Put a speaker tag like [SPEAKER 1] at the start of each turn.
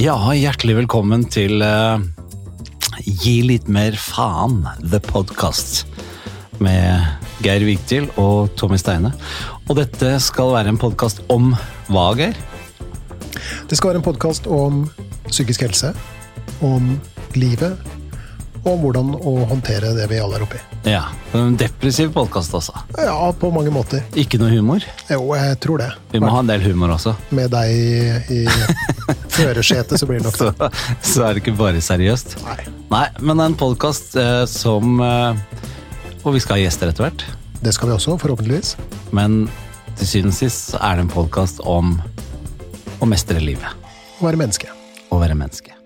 [SPEAKER 1] Ja, hjertelig velkommen til eh, Gi litt mer faen, the podcast. Med Geir Vigtil og Tommy Steine. Og dette skal være en podkast om hva, Geir?
[SPEAKER 2] Det skal være en podkast om psykisk helse, om livet, og om hvordan å håndtere det vi alle er oppi.
[SPEAKER 1] Ja, En depressiv podkast, altså.
[SPEAKER 2] Ja, på mange måter.
[SPEAKER 1] Ikke noe humor.
[SPEAKER 2] Jo, jeg tror det.
[SPEAKER 1] Vi må ha en del humor også.
[SPEAKER 2] Med deg i førersetet, så blir det nok
[SPEAKER 1] Så,
[SPEAKER 2] det.
[SPEAKER 1] så er det ikke bare seriøst.
[SPEAKER 2] Nei,
[SPEAKER 1] Nei, men en podkast eh, som eh, Og vi skal ha gjester etter hvert.
[SPEAKER 2] det skal vi også, forhåpentligvis.
[SPEAKER 1] Men til syvende og sist så er det en podkast om å mestre livet.
[SPEAKER 2] Å være menneske.
[SPEAKER 1] å være menneske.